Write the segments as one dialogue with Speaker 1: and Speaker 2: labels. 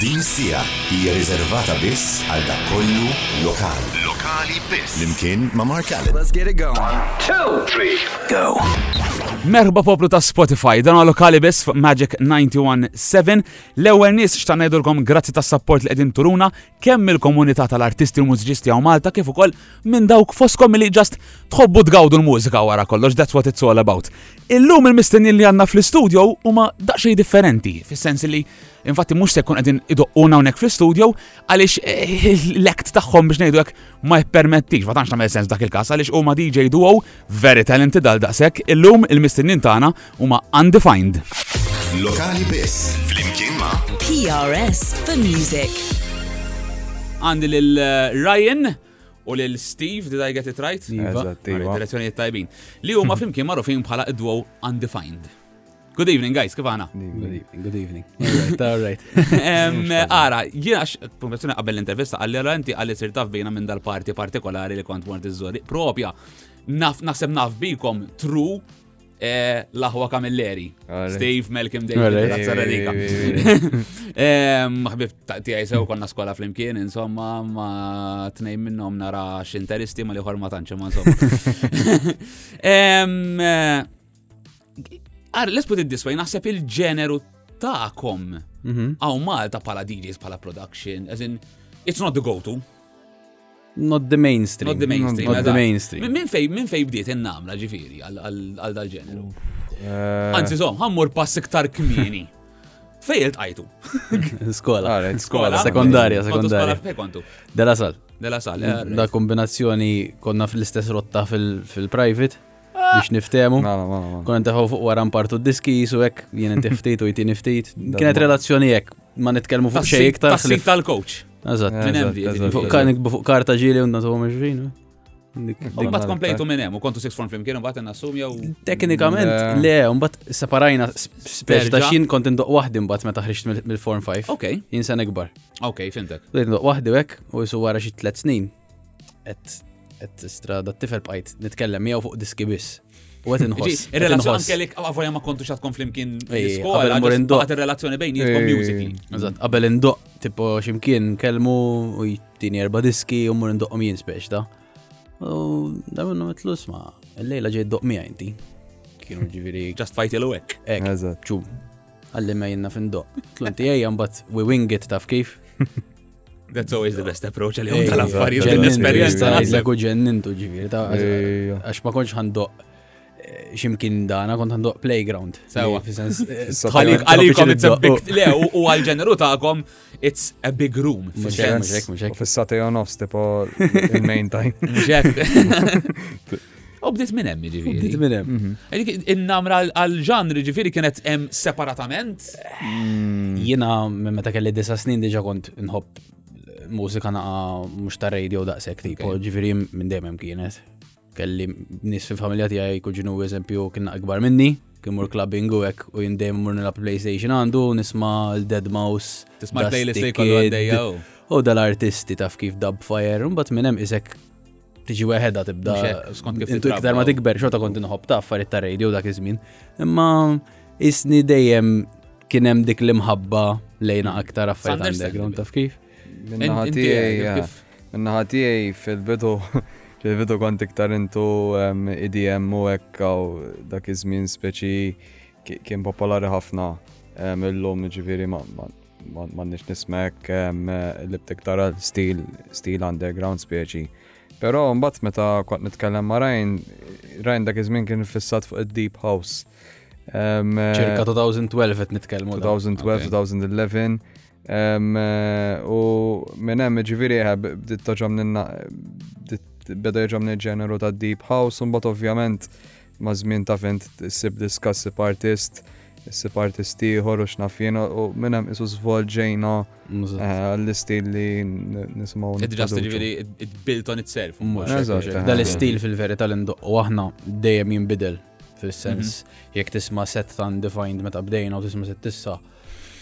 Speaker 1: Din sija hija riservata biss għal dak kollu lokali.
Speaker 2: Lokali biss.
Speaker 1: Flimkien ma' Mark Allen.
Speaker 3: Let's get it going.
Speaker 4: Merħba poplu ta' Spotify, dan huwa lokali biss fuq Magic 917. L-ewwel nies x'ta' ngħidulkom grazzi tas-support li qegħdin turuna kemm il-komunità tal-artisti u mużiċisti hawn Malta kif ukoll minn dawk foskom li ġast tħobbu tgawdu l-mużika wara kollox, that's what it's all about. Illum il-mistennin li għandna fl-istudio huma daqsxejn differenti, fis-sens li infatti mhux se jkun qegħdin idoqquna hawnhekk fl-istudio għaliex eh, l-act tagħhom biex ngħidu hekk ma jippermettix, ma tantx tagħmel sens dak il-każ għaliex huma DJ duo very talented għal daqshekk, illum il-mistinnin tagħna huma undefined.
Speaker 1: Lokali biss. Flimkien ma'
Speaker 5: PRS E for music.
Speaker 4: Għandi lil eh, Ryan u lil Steve, did I get it right?
Speaker 6: Eżatt, iva.
Speaker 4: Għarri, direzzjonijiet tajbin. Li huma flimkien magħrufin bħala id-duo undefined. Good evening guys, kif għana?
Speaker 6: Good evening, good evening.
Speaker 4: Em, Ara, jiena x-promozzjoni qabel l-intervista għalli għalli inti għalli sir taf bejna minn dal-parti partikolari li kont mort iż-żori. Propja, naf, nasem naf bikom tru eh, laħwa kamilleri.
Speaker 6: Alright.
Speaker 4: Steve Malcolm
Speaker 6: Alright.
Speaker 4: David, Razza Radika. Em, Ħbib ta' tiegħi sew konna skola flimkien, insomma, ma tnejn minnhom nara x'interisti ma li ħor ma tantx ma insomma. Em, eh, Ar, let's put it this way, naħseb il-ġeneru ta'kom għaw Malta pala DJs, pala production, as in, it's not the go-to,
Speaker 6: Not the mainstream.
Speaker 4: not the mainstream.
Speaker 6: Not the
Speaker 4: eżatt.
Speaker 6: mainstream.
Speaker 4: Min- Min fej, min fej bdiet innamla ġifiri għal- għal għal dal-ġeneru.
Speaker 6: Eh,
Speaker 4: Anzi, zom, għammur pass iktar kmieni. Fej il-tajtu.
Speaker 6: Skola. Alright,
Speaker 4: Skola.
Speaker 6: Sekondarja,
Speaker 4: Kontu skola
Speaker 6: sekondarja.
Speaker 4: fej kontu.
Speaker 6: Dela sal.
Speaker 4: Della eh, sal.
Speaker 6: Da kombinazzjoni konna fl-istess rotta fil- fil-private biex niftemu.
Speaker 4: Ah.
Speaker 6: Konna nteħu fuq wara partu diski, su hekk jien inti ftit u jtini ftit. Kienet relazzjoni hekk, ma nitkellmu fuq xejn iktar.
Speaker 4: Tassit
Speaker 6: ħlif-
Speaker 4: tal-coach.
Speaker 6: Eżatt.
Speaker 4: Minn hemm
Speaker 7: eżatt,
Speaker 4: bdiet.
Speaker 7: eżatt,
Speaker 6: Fuq
Speaker 4: ġifiri.
Speaker 6: ka- nikbu fuq karta ġili u natu meġrin.
Speaker 4: Dik bat komplejtu minn hemm u kontu six form flimkien u bat nassum jew. Eh.
Speaker 6: Teknikament, le, un bat separajna speċ ta'
Speaker 4: Terġa'.
Speaker 6: xin kont indoq wahdi mbagħad meta ħriġt mill- mill-Form 5.
Speaker 4: Ok,
Speaker 6: Insan ikbar.
Speaker 4: ok, fintek.
Speaker 6: Bdejt ndoq wahdi hekk u jisu wara xi tliet snin. Et et strada t-tifel bqajt nitkellem miegħu fuq diski biss. U qed inħoss. qed
Speaker 4: Il-relazzjoni
Speaker 6: inħoss.
Speaker 4: anke li għavolja ma kontu xat konflimkien
Speaker 6: Ej, qabel
Speaker 4: skola,
Speaker 6: mur indoq.
Speaker 4: għad il-relazzjoni bejn jitkom musically.
Speaker 6: Eżatt, qabel indoq tipo ximkien kelmu u jtini erba diski u mur indoqhom jien speċ da. U da minnu mitlu sma, il-lejla ġej doq miegħi inti. Kienu ġifieri
Speaker 4: Just fight il-wek.
Speaker 6: Ek,
Speaker 7: Eżatt.
Speaker 6: ċu,
Speaker 4: Eh.
Speaker 6: għalli ma jenna findo. Tlunti ej, għambat, we wing it taf kif.
Speaker 4: That's always the best approach għal
Speaker 6: Ej,
Speaker 4: jom tal-affarijiet
Speaker 6: ġennin,
Speaker 4: tal-esperienza.
Speaker 6: jista'
Speaker 4: naħseb.
Speaker 6: ngħidlek u ġennintu ġivir, ta'
Speaker 7: Ejja.
Speaker 6: għax ma konċ għando ximkien dana, kont għando playground.
Speaker 4: Sewa.
Speaker 6: Għalik,
Speaker 4: Għalik, għalikom, it's a big, le, u- u għal-ġeneru ta'kom, it's a big room.
Speaker 6: Muxek,
Speaker 4: fil-sens.
Speaker 6: muxek, muxek.
Speaker 7: Fissati għon offs, tipo il-main time.
Speaker 4: Mhux hekk. U bdiet minn hemm
Speaker 6: Dit
Speaker 4: jiġifieri.
Speaker 6: minnem.
Speaker 4: Dik In-namra għal- għal-ġanri ġifieri kienet hemm separatament. Mm.
Speaker 6: Jina, minn meta kelli disa snin diġa kont nħobb mużika naqa mux ta' radio daqsek, tipo ġifiri minn dejjem kienet. Kelli nis fil-familja tiegħi kuġinu eżempju kien akbar minni, kien mur clubbing u hekk u jien dejjem mur nilab PlayStation għandu, nisma' l-Dead Mouse.
Speaker 4: Tisma'
Speaker 6: Dusty
Speaker 4: l-playlist li jkollu
Speaker 6: Kid,
Speaker 4: għaddejja, u.
Speaker 6: U dal-artisti taf kif Dubfire, un bat minn hemm isek tiġi weħeda tibda.
Speaker 4: Mhux hekk, skont kif
Speaker 6: Intu iktar
Speaker 4: titrabba,
Speaker 6: ma
Speaker 4: u-
Speaker 6: tikber, xorta kont inħobb ta' affarijiet ta' radio dak iż-żmien. Imma isni dejjem kien hemm dik l-imħabba lejna aktar affarijiet underground taf kif.
Speaker 4: Inti,
Speaker 7: Minnaħatijaj,
Speaker 4: kif-
Speaker 7: minnaħatijaj fil-bidu, fil-bidu kont iktar intu em, EDM u ekkaw dak iż-żmien speċi ki- kien popolari ħafna em, illum ġifiri ma ma- ma- ma nix nismek li btiktar stil stil underground speċi. Pero mbagħad meta kont nitkellem ma' Ryan, Ryan dak iż-żmien kien fissat fuq id-Deep House. Em,
Speaker 6: ċirka 2012 qed nitkellmu. da.
Speaker 7: 2012, 2011. Em, eh, U minn hemm ġifieri eh, b- bdiet toġom beda jġom ġeneru ta' Deep House, un bat ovvjament ma' żmien ta' fint sib diskas sib artist, sib artist ieħor u x'naf jien u minn hemm isu svolġejna
Speaker 6: Mużat.
Speaker 7: Eh, għall-istil li n- nisimgħu.
Speaker 4: It just
Speaker 7: nipproduċu.
Speaker 4: ġifieri it- it built on itself.
Speaker 6: Mhux
Speaker 7: Eżatt,
Speaker 6: hekk, mhux hekk.
Speaker 7: eżatt.
Speaker 6: Dal-istil fil-verità li ndoqqu aħna dejjem jinbidel fil-sens jekk tisma' set ta' undefined meta bdejna u tisma' set issa.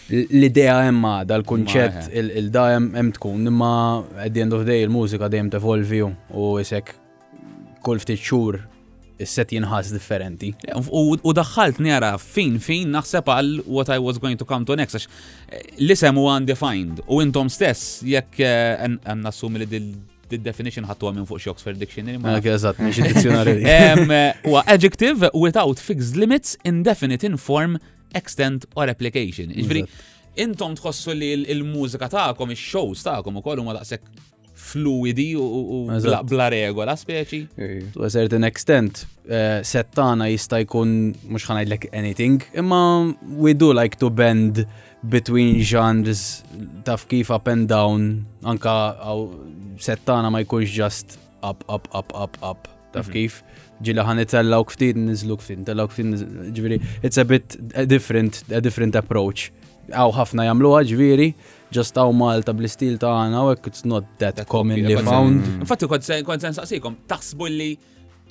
Speaker 6: l- L-idea hemm għadha, l-kunċett,
Speaker 4: Ma,
Speaker 6: il- il-da hemm hemm tkun, imma at the end of the day il-mużika dejjem tevolvi u isek kull ftit xhur is-set jinħas differenti.
Speaker 4: U u daħħalt nera fin fin naħseb għal what I was going to come to next, għax eh, l-isem huwa undefined u intom stess jekk eh, nassum li dil-definition ħattu minn fuq xi Oxford Dictionary. ma-
Speaker 6: Ok, eżatt, miex id-dizzjonari.
Speaker 4: Em, eh, Huwa adjective without fixed limits, indefinite in form, extent or application. Iġveri, intom tħossu li l- il-mużika ta'kom, il-shows ta'kom u kollu ma daqsek fluidi u- u u bla-
Speaker 6: Eżatt.
Speaker 4: bla regola speċi.
Speaker 7: Eh,
Speaker 6: To a certain extent, eh, set tagħna jista' jkun mhux ħanajdlek anything, imma we do like to bend between genres taf kif up and down, anka aw set tagħna ma jkunx just up, up, up, up, up, taf kif. Ġila ħan itella u ftit nizlu ftit, itella u ftit nizlu, ġviri, it's a bit a different, a different approach. Aw ħafna jamluha ġviri, just aw Malta bl-istil tagħna u hekk it's not that commonly found.
Speaker 4: Infatti, kont se- kont se nsaqsikom, taħsbu li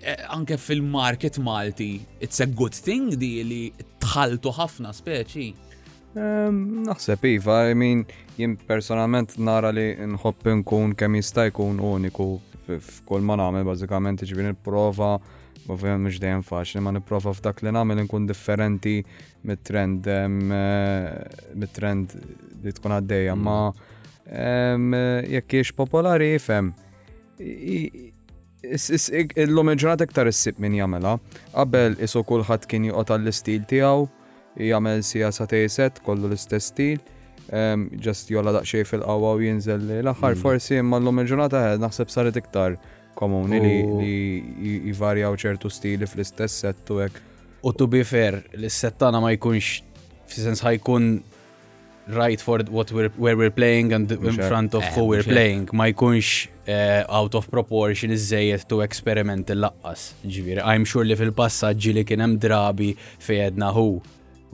Speaker 4: eh, anke fil-market Malti, it's a good thing di li tħaltu ħafna speċi.
Speaker 7: em, Naħseb iva, I mean, jien personalment nara li nħobb nkun kemm jista' jkun uniku f- f'kull ma nagħmel bażikament ġifieri nipprova Ovvijament mhux dejjem faċli, ma nipprova f'dak li nagħmel nkun differenti mit-trend em, eh, mit-trend li tkun għaddejja, ma em, eh, jekk hiex popolari jifhem. I- i- is- is- ik- Illum il-ġurnata iktar issib min jagħmilha. Qabel isu kulħadd kien joqgħod għall-istil tiegħu, jagħmel sija sa tejset, kollu l-istess stil, em, ġast jolla daqsxejn fil-qawwa u jinżel li l-aħħar forsi imma llum il-ġurnata eh, naħseb saret iktar komuni li
Speaker 6: U-
Speaker 7: li j- jivarjaw ċertu stili fl-istess set u hekk.
Speaker 6: U to be fair, l-settana ma jkunx, fi sens ħajkun right for what we're, where we're playing and in
Speaker 7: Mhux
Speaker 6: front of
Speaker 4: hekk.
Speaker 6: who
Speaker 4: Eh,
Speaker 6: we're
Speaker 4: mhux hekk.
Speaker 6: playing. Ma jkunx eh, out of proportion iżejjed to experiment laqqas. Ġviri, I'm sure li fil-passagġi li kienem drabi fejedna hu.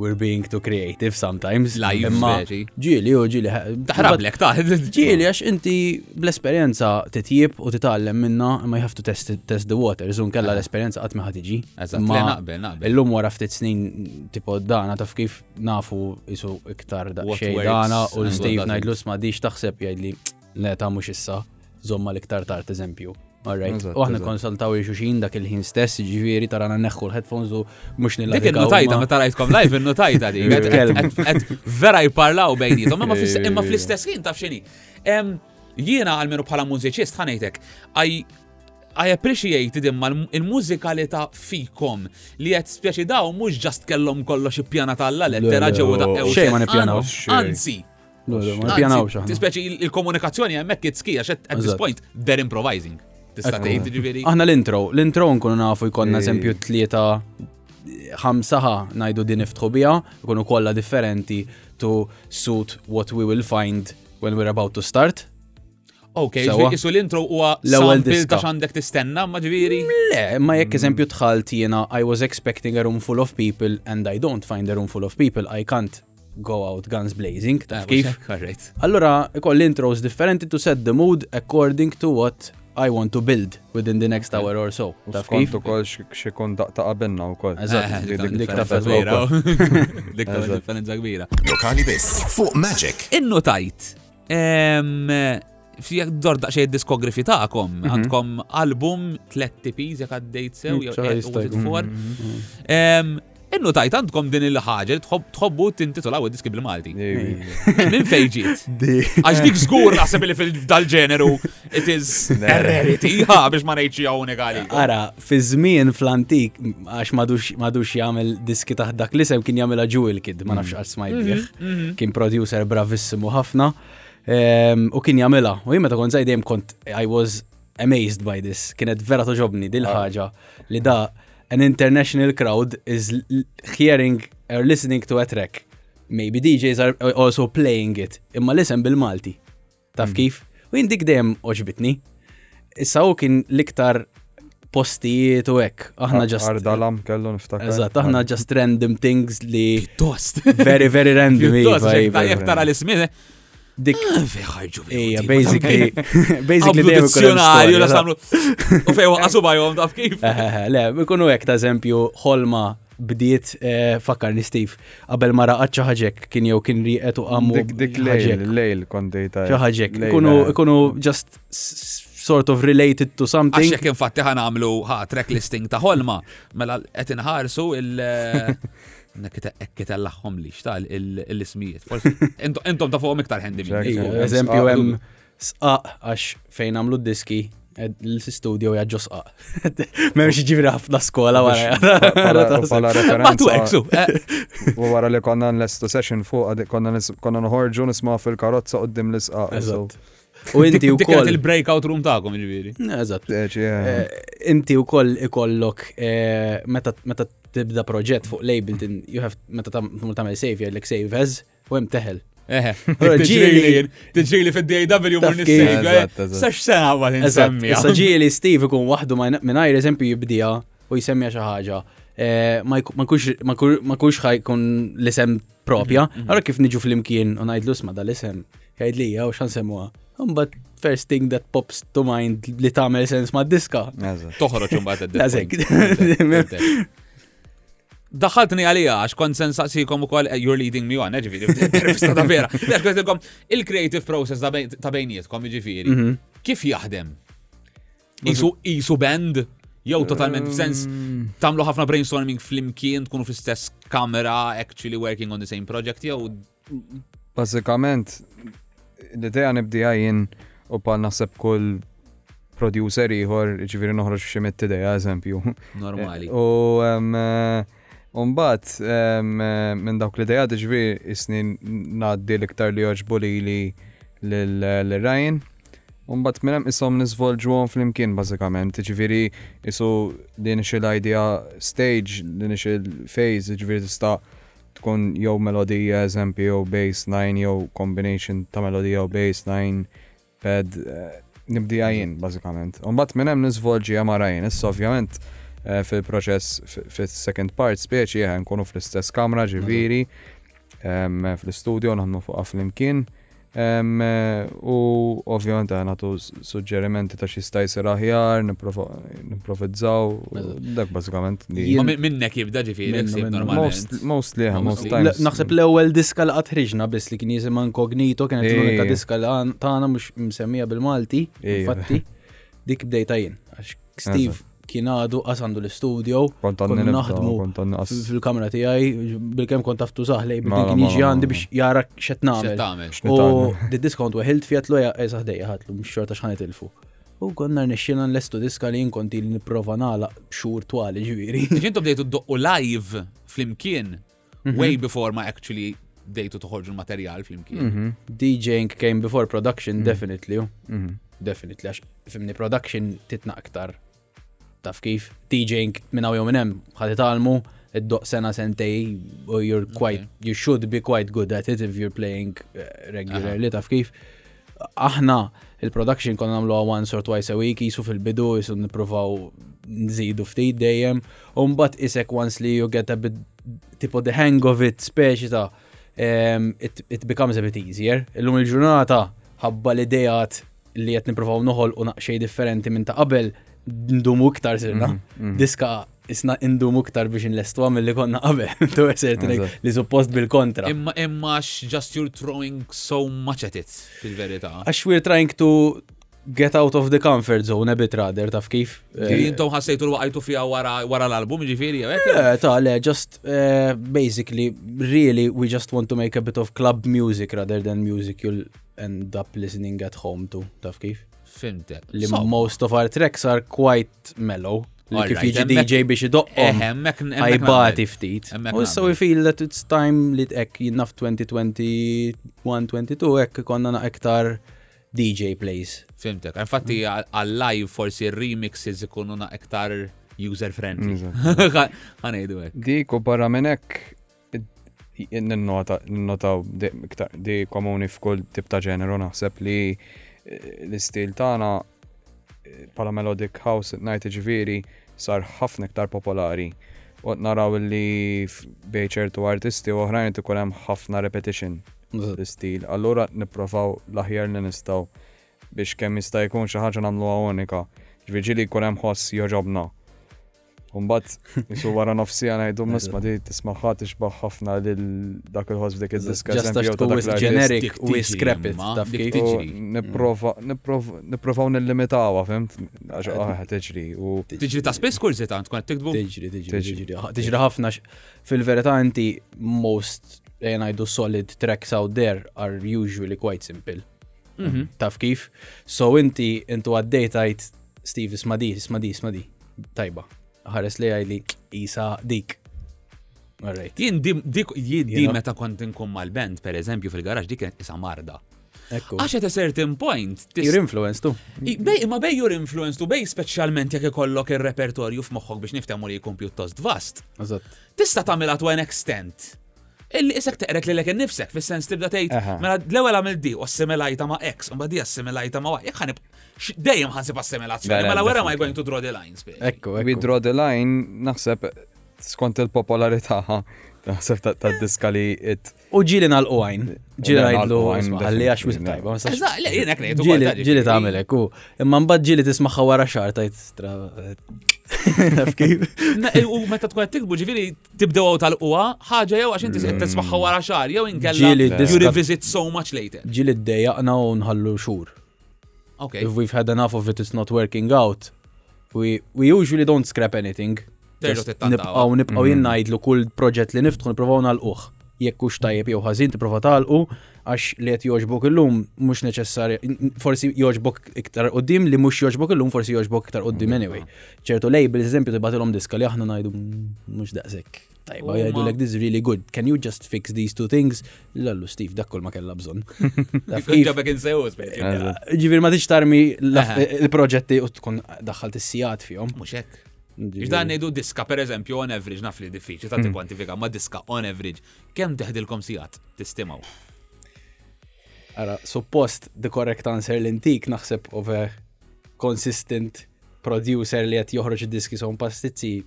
Speaker 6: We're being too creative sometimes.
Speaker 4: Live,
Speaker 6: Imma
Speaker 4: veġi.
Speaker 6: ġili u ġili. ħa-
Speaker 4: Taħrablek, taħ.
Speaker 6: ġieli għax inti bl-esperienza titjib u titgħallem minna ma you have to test, test the water, zun kella l-esperienza qatt ma ħatiġi.
Speaker 4: Eh. Eżatt,
Speaker 6: Imma
Speaker 4: le, naqbel, naqbel.
Speaker 6: Illum wara ftit snin tipo dana taf kif nafu isu iktar da
Speaker 4: What
Speaker 6: xej
Speaker 4: works
Speaker 6: dana
Speaker 4: and
Speaker 6: u
Speaker 4: what
Speaker 6: l-Steve
Speaker 4: doesn't.
Speaker 6: ngħidlu ma diċ taħseb jgħidli le ta' mhux issa, zomma l-iktar tard eżempju. Alright,
Speaker 7: Eżatt,
Speaker 6: u aħna
Speaker 7: eżatt.
Speaker 6: konsultaw xuxin dak il-ħin stess, ġifieri tarana neħħu l-headphones u mhux nilagħu.
Speaker 4: Dik il-nutajta, meta rajtkom live, il-nutajta di. Għed-
Speaker 6: Kelm.
Speaker 4: għed- għed Vera jparlaw bejnietom, imma fl-
Speaker 7: Eh.
Speaker 4: imma fl-istess ħin taf xini. Em, Jiena għalmenu bħala mużiċist ħanejtek, I I appreciate it imma l- il-mużikalità fikom li qed speċi daw mhux ġast kellhom kollox ippjana tal-la
Speaker 6: Le,
Speaker 4: lettera
Speaker 6: le,
Speaker 4: ġewwa
Speaker 6: oh,
Speaker 4: da'
Speaker 6: xejn ma nippjanaw.
Speaker 4: Anzi,
Speaker 6: Ma pjanaw
Speaker 4: anzi, tispeċi il- il-komunikazzjoni hemmhekk kitskija x'qed at this
Speaker 6: Eżatt.
Speaker 4: point they're improvising. Tista'
Speaker 6: Ekku.
Speaker 4: tgħid jiġifieri.
Speaker 6: Aħna l-intro, l-intro nkunu nafu jkollna
Speaker 7: Ej.
Speaker 6: eżempju tlieta ħamsaħa najdu din iftħu bija, jkunu kollha differenti to suit what we will find when we're about to start.
Speaker 4: Ok,
Speaker 6: Ah, Sewa.
Speaker 4: jisu l-intro huwa
Speaker 6: L-ewwel
Speaker 4: sample ta'
Speaker 6: diska.
Speaker 4: x'għandek tistenna ma ġifieri.
Speaker 6: Le, ma jekk eżempju tħalt jiena I was expecting a room full of people and I don't find a room full of people, I can't go out guns blazing, taf kif?
Speaker 4: Eh, Correct.
Speaker 6: Allora, ikoll intros differenti to set the mood according to what I want to build within the next hour or so.
Speaker 7: U
Speaker 6: Taf
Speaker 7: skont
Speaker 6: kif?
Speaker 7: ukoll xi kun daqta qabilna wkoll.
Speaker 4: Eh,
Speaker 6: Eżatt,
Speaker 7: Li Eh, dik
Speaker 6: dik
Speaker 7: differenza
Speaker 6: tafet
Speaker 7: kbira.
Speaker 6: wkoll.
Speaker 4: Dik ta' differenza kbira.
Speaker 1: Lokali biss fuq Magic.
Speaker 4: Innu tajt, fjek dor daqxej diskografi ta'kom, għandkom album, tlet tipiz, jek għaddejt sew,
Speaker 6: Mm,
Speaker 4: jew
Speaker 6: xaħġa
Speaker 4: eh, was it
Speaker 6: jistajt.
Speaker 4: four? Em, Innu tajt għandkom din il-ħagġa li tħobb- tħobbu tintitolaw id-diski bil-Malti.
Speaker 7: Ejwi.
Speaker 4: Min fejġiet? Għax dik zgur naħseb li fil-dal-ġeneru it is a rarity, ha, biex ma nejċi għawnek għalik.
Speaker 6: Ara, fi żmien fl-antik, għax madux madux jagħmel diski taħt dak li sem kien jagħmilha Jewel Kid, ma nafx għal smajt bih. Kien producer bravissimu ħafna. em, U kien jagħmilha. U jien meta kont zaħid dejjem kont I was amazed by this. Kienet vera toġobni dil ħaġa li da an international crowd is l- hearing or listening to a track. Maybe DJs are also playing it. Imma lisem bil-Malti. Taf kif? U jien dik dejjem oġbitni. Issa u kien liktar postijiet u hekk. Aħna just.
Speaker 7: Ardalam kellu niftakar.
Speaker 6: Eżatt, aħna just random things li
Speaker 4: Tost.
Speaker 6: very, very random.
Speaker 4: Tost,
Speaker 6: iva,
Speaker 4: jek
Speaker 6: iva,
Speaker 4: ta' jek
Speaker 6: iva.
Speaker 4: tara l-ismin,
Speaker 6: Dik,
Speaker 4: feħarġu
Speaker 7: eh,
Speaker 6: ija, basically, basically
Speaker 4: Għablu
Speaker 6: dejjem ikun hemm storja,
Speaker 4: dizzjonarju, la samlu. U fejwa għasu bajom, taf kif.
Speaker 6: Eħe, Eh, Le, ikunu hekk ta' eżempju, ħolma bdiet eh, fakkarni Steve, qabel ma raqat ħaġek kien jew kien riqet u qamu
Speaker 7: Dik dik
Speaker 6: ħaġek.
Speaker 7: lejl, lejl kont dejta.
Speaker 6: Xi ħaġek.
Speaker 7: Lejl,
Speaker 6: Ikunu
Speaker 7: eh.
Speaker 6: ikunu just s- s- sort of related to something.
Speaker 4: Għaxek infatti ħan għamlu ħa track listing ta' Holma. Mela qed inħarsu il- Ekkita l-laħħom li xtal l-ismijiet. Forsi ent- Entom ta' fuqom iktar ħendim.
Speaker 7: Exactly.
Speaker 6: Iva,
Speaker 7: Hemm
Speaker 6: Eżempju,
Speaker 7: sqaq.
Speaker 6: hemm sqaq għax fejn għamlu diski, l-studio jgħadġu sqaq. Memx ġivri ħafna skola
Speaker 7: Pa- pala- pala
Speaker 6: wara.
Speaker 4: Batu
Speaker 7: referenza
Speaker 4: eksu. eh,
Speaker 7: u wara li konna nlestu session fuq għad- konna nis- konna nħorġu nisma' fil-karozza qoddim l-isqaq. so,
Speaker 6: Eżatt. U inti u
Speaker 4: dik kienet
Speaker 6: koll.
Speaker 4: il-breakout room ta'kom ġviri.
Speaker 6: Eżatt.
Speaker 7: eh, yeah.
Speaker 6: Eh, Inti u koll ikollok eh, meta meta tibda proġett fuq label, tin- you have meta tam- tmur tagħmel save jgħidlek save as u hemm teħel.
Speaker 4: Eħe,
Speaker 6: Ora, ġieli.
Speaker 4: Tiġrili fil-DAW mur
Speaker 6: Taf kif.
Speaker 4: nissejga.
Speaker 7: Eżatt, eżatt.
Speaker 4: Sax sena għal
Speaker 6: Eżatt,
Speaker 4: insemmi.
Speaker 6: issa ġieli Steve ikun waħdu minnajr eżempju jibdija u jisemmija xi ħaġa. Eh, ma jku- ma jkunx- ma jkur- ma jkunx ħajkun l-isem propja, għara kif niġu fl-imkien u ngħidlu isma dal-isem, jgħid li jew xan semmuha. But first thing that pops to mind li tagħmel sens ma' diska.
Speaker 7: Eżatt.
Speaker 4: Toħroċ imbagħad
Speaker 6: Eżek.
Speaker 4: Daħaltni għalija għax kont sen saqsikom ukoll eh, you're leading me on, eh, ġifieri, intervista ta' vera. Għax kont ilkom il-creative process ta' bejn- ta' bejnietkom ġifieri.
Speaker 6: Mhm.
Speaker 4: Kif jaħdem? Isu isu band? Jew totalment f'sens tagħmlu ħafna brainstorming fl-imkien tkunu fl-istess kamera actually working on the same project jew
Speaker 7: Bazzikament, l-ideja nibdija jien u pan naħseb kull producer ieħor, ġifieri noħroġ f'xi mitt-ideja eżempju.
Speaker 4: normali.
Speaker 6: Eh, oh.
Speaker 7: U um, Umbat, minn dawk l-ideja ġifieri is-snin ngħaddi l-iktar li joġbu li li l-Ryan. Umbat minn hemm isom niżvolġu għom fl-imkien bażikament, ġifieri isu din xi l-idea stage, din xi l-phase, ġifieri tista' tkun jew melodija eżempju jew bass line jew combination ta' melodija jew bass line pad eh, nibdi għajin bażikament. Umbat minn hemm niżvolġi għam għarajin, issa ovvjament eh, fil-proċess fi- fil-second part speċi eh, nkunu fl-istess kamra ġifieri em, fl-studio naħdmu fuqha fl-imkien. Em, eh, u ovvjament eh, nagħtu s- suġġerimenti ta' xi sta jsir aħjar, niprofa- nimprovizzaw, u dak bażikament li.
Speaker 4: Ma min- Minnek jibda ġifieri,
Speaker 6: Minnu,
Speaker 4: ksib
Speaker 6: minnu.
Speaker 4: normalment.
Speaker 7: Most, mostly, yeah, most
Speaker 4: Mostly.
Speaker 7: times.
Speaker 6: Naħseb l-ewwel diska li qatt ħriġna biss li kien jisimha inkognito kienet l-unika
Speaker 7: Ej.
Speaker 6: diska li għan- tagħna mhux msemmija bil-Malti,
Speaker 7: Ej.
Speaker 6: infatti dik bdejta jien. Għax Steve kien għadu qas għandu l-istudio,
Speaker 7: Kont għanni
Speaker 6: konna
Speaker 7: nibda,
Speaker 6: naħdmu
Speaker 7: kont għanni qas.
Speaker 6: fil- fil-kamra tiegħi, bil-kemm kont taftu saħlej,
Speaker 7: Mala,
Speaker 6: bil-kien kien jiġi
Speaker 7: mala,
Speaker 6: għandi
Speaker 7: mala.
Speaker 6: biex jara x'qed
Speaker 4: X'qed
Speaker 6: nagħmel.
Speaker 4: tagħmel?
Speaker 6: U
Speaker 7: X'nitagħmel?
Speaker 6: d-diskont weħilt fiat lu eżaħ dejja ħatlu, mux xorta xħan itilfu. U konna nixxina l-estu diska li jinkonti li niprofa nala bxur twali ġviri.
Speaker 4: Ġintu bdejtu d-doqqu live fl-imkien, way before ma actually bdejtu toħorġu l-materjal
Speaker 6: Mhm.
Speaker 4: fl-imkien.
Speaker 6: DJing came before production, definitely. u. Definitely, għax fimni production titna aktar. Taf kif, DJing minna u jominem, ħati talmu, id-doq sena sentej, u you're quite, you should be quite good at it if you're playing uh, regularly, taf kif. Aħna, il-production konna namlu once or twice a week, jisu fil-bidu, jisu niprofaw nżidu ftit dejjem, un bat isek once li you get a bit, tipo the hang of it, speċi ta' um, it, it becomes a bit easier. Illum il-ġurnata ħabba l-idejat li jett niprofaw noħol u naqxej differenti minn ta' qabel ndumu iktar sirna. Diska isna ndumu iktar biex nlestu għamil li konna qabel. Tu għesert
Speaker 7: Eżatt.
Speaker 6: li suppost bil-kontra.
Speaker 4: Imma imma x- just you're throwing so much at it, fil-verità.
Speaker 6: Għax we're trying to get out of the comfort zone a bit rather, taf kif? Eh,
Speaker 4: Jintom ħassejtu l-waqajtu fija wara wara l-album, ġifiri, għek?
Speaker 6: Yeah, ta' Eh, le, just uh, basically, really, we just want to make a bit of club music rather than music you'll end up listening at home to, taf kif?
Speaker 4: Fimte.
Speaker 6: Li most of our tracks are quite mellow. Li kif
Speaker 4: Alright,
Speaker 6: jiġi
Speaker 4: emmek-
Speaker 6: DJ biex
Speaker 4: Eh,
Speaker 6: idoqqom.
Speaker 4: Eħemmek
Speaker 6: Għajbati ftit.
Speaker 4: Emmek
Speaker 6: U Oh, so we feel that it's time li t-ek jinnaf 2021-22 ek konna na ektar DJ plays.
Speaker 4: Fimtek. Infatti għal-live forsi remixes ikunu na iktar user-friendly. Għanajdu għek.
Speaker 7: Dik u barra minnek, n-notaw di komuni f'kull tip ta' ġeneru naħseb li eh, l-istil tagħna eh, pala Melodic House at Night ġviri sar ħafna iktar popolari. U qed naraw li f- bej ċertu artisti oħrajn qed ikun hemm ħafna repetition l-istil. Allura nipprovaw l-aħjar li nistgħu biex kemm jista' jkun xi ħaġa nagħmluha unika. Ġifieri li jkun hemm ħoss joġobna. Umbat, jisu wara nofsi għana jiddu misma di tismaħħa tixbaħ ħafna lil dak il-ħos dik
Speaker 6: Just
Speaker 7: il-diskazjon.
Speaker 6: għax tkun wisq generic Mm.
Speaker 4: Dik
Speaker 6: u
Speaker 4: tiġri,
Speaker 6: scrap it.
Speaker 4: imma,
Speaker 6: Taf
Speaker 4: dik
Speaker 6: kif?
Speaker 4: tiġri.
Speaker 7: Niprofa, niprofa nil-limitawa, fimt? Għaxa, għaxa, teġri. U
Speaker 4: Tiġri ta' spess kursi ta' tkun qed tiktbu.
Speaker 6: Tiġri, tiġri,
Speaker 7: Tiġri.
Speaker 6: tiġri. Ah, Tiġri ħafna. x- Fil-verità inti most jgħidu solid tracks out there are usually quite simple. Taf kif? So inti intu għaddej tajt Steve isma di, isma di, isma di. Tajba. Ħares li għajli isa dik. All right.
Speaker 4: Jien di- dik-
Speaker 6: You
Speaker 4: jien di
Speaker 6: know?
Speaker 4: meta kont inkun mal-band, per eżempju, fil-garaġ dik kienet isa marda.
Speaker 6: Ekku.
Speaker 4: Għax at a certain point, tis-
Speaker 6: Your influence tu.
Speaker 4: I- bej- imma bej jur influenced u bej specialment jekk ikollok il-repertorju f'moħħok biex niftemu li jkun pjuttost vast.
Speaker 6: Eżatt.
Speaker 4: tista' tagħmilha to an extent. Illi isek teqrek lilek innifsek fis-sens tibda
Speaker 7: Aha.
Speaker 4: tgħid mela l-ewwel għamil di u assimilajta ma' X u mbagħad di assimilajta ma' Y. Jekk ħanib x- dejjem ħansib
Speaker 7: Le, le,
Speaker 4: assimilazzjoni, mela wera ma
Speaker 7: definitely.
Speaker 4: going to draw the lines. bitch.
Speaker 6: Ekku,
Speaker 7: we
Speaker 6: ekku.
Speaker 7: draw the line, naħseb, skont il-popolarità, naħseb ta' ta' diska li it.
Speaker 6: U ġili nal-uwajn. Ġili
Speaker 7: Ġieli
Speaker 6: għajdlu,
Speaker 7: nal-qwajn,
Speaker 6: isma, għalli għax wis
Speaker 7: definitely,
Speaker 6: tajba. ma sax-
Speaker 4: Eżatt, le, jien hekk ngħid ukoll,
Speaker 6: Ġili,
Speaker 4: ta'
Speaker 6: ġili
Speaker 4: ġifieri.
Speaker 6: ta' għamilek, u. Imma mbagħad ġili tismaħħa wara xar tajt stra. Taf kif?
Speaker 4: Na- eh, U meta tkun qed tikbu ġifieri tibdew għaw tal-qwa, ħaġa jew għax inti se tismaħħa wara xahar jew
Speaker 6: Ġieli
Speaker 4: inkella you
Speaker 6: diska-
Speaker 4: revisit so much later.
Speaker 6: Ġili d-dejjaqna u nħallu xur.
Speaker 4: Okay.
Speaker 6: If we've had enough of it, it's not working out. We, we usually don't scrap anything.
Speaker 4: Terġgħu
Speaker 6: Just
Speaker 4: tittantaw.
Speaker 6: Nibqaw nibqaw jinnajdlu kull proġett li niftħu nipprovaw nal-uħ. Jekk hux tajjeb jew ħażin tipprova talqu għax li qed jogħġbok illum mhux neċessarju forsi jogħġbok iktar qudiem li mhux jogħġbok illum forsi jogħġbok iktar qudiem anyway. ċertu labels eżempju tibatilhom diska li aħna ngħidu "Mm, mhux daqshekk. Tajba
Speaker 4: Huma-
Speaker 6: jgħidu like this is really good. Can you just fix these two things? Lallu Steve dak kull ma kellha bżonn. Taf
Speaker 4: Jkun
Speaker 6: kif?
Speaker 4: ġabek insewus, bitch.
Speaker 6: Ġivir ma tiċtarmi laf-
Speaker 4: Aha.
Speaker 6: il-proġetti u tkun daħħalt is-sijat fihom.
Speaker 4: Mhux hekk. Iġdan nejdu diska, per eżempju, on average, naf li diffiċi, ta'
Speaker 6: Hmm.
Speaker 4: tikwantifika, ma diska on average, kem teħdilkom sijat, tistimaw.
Speaker 6: Ara, suppost the correct answer l-intik naħseb of a consistent producer li qed joħroġ id-diski son pastizzi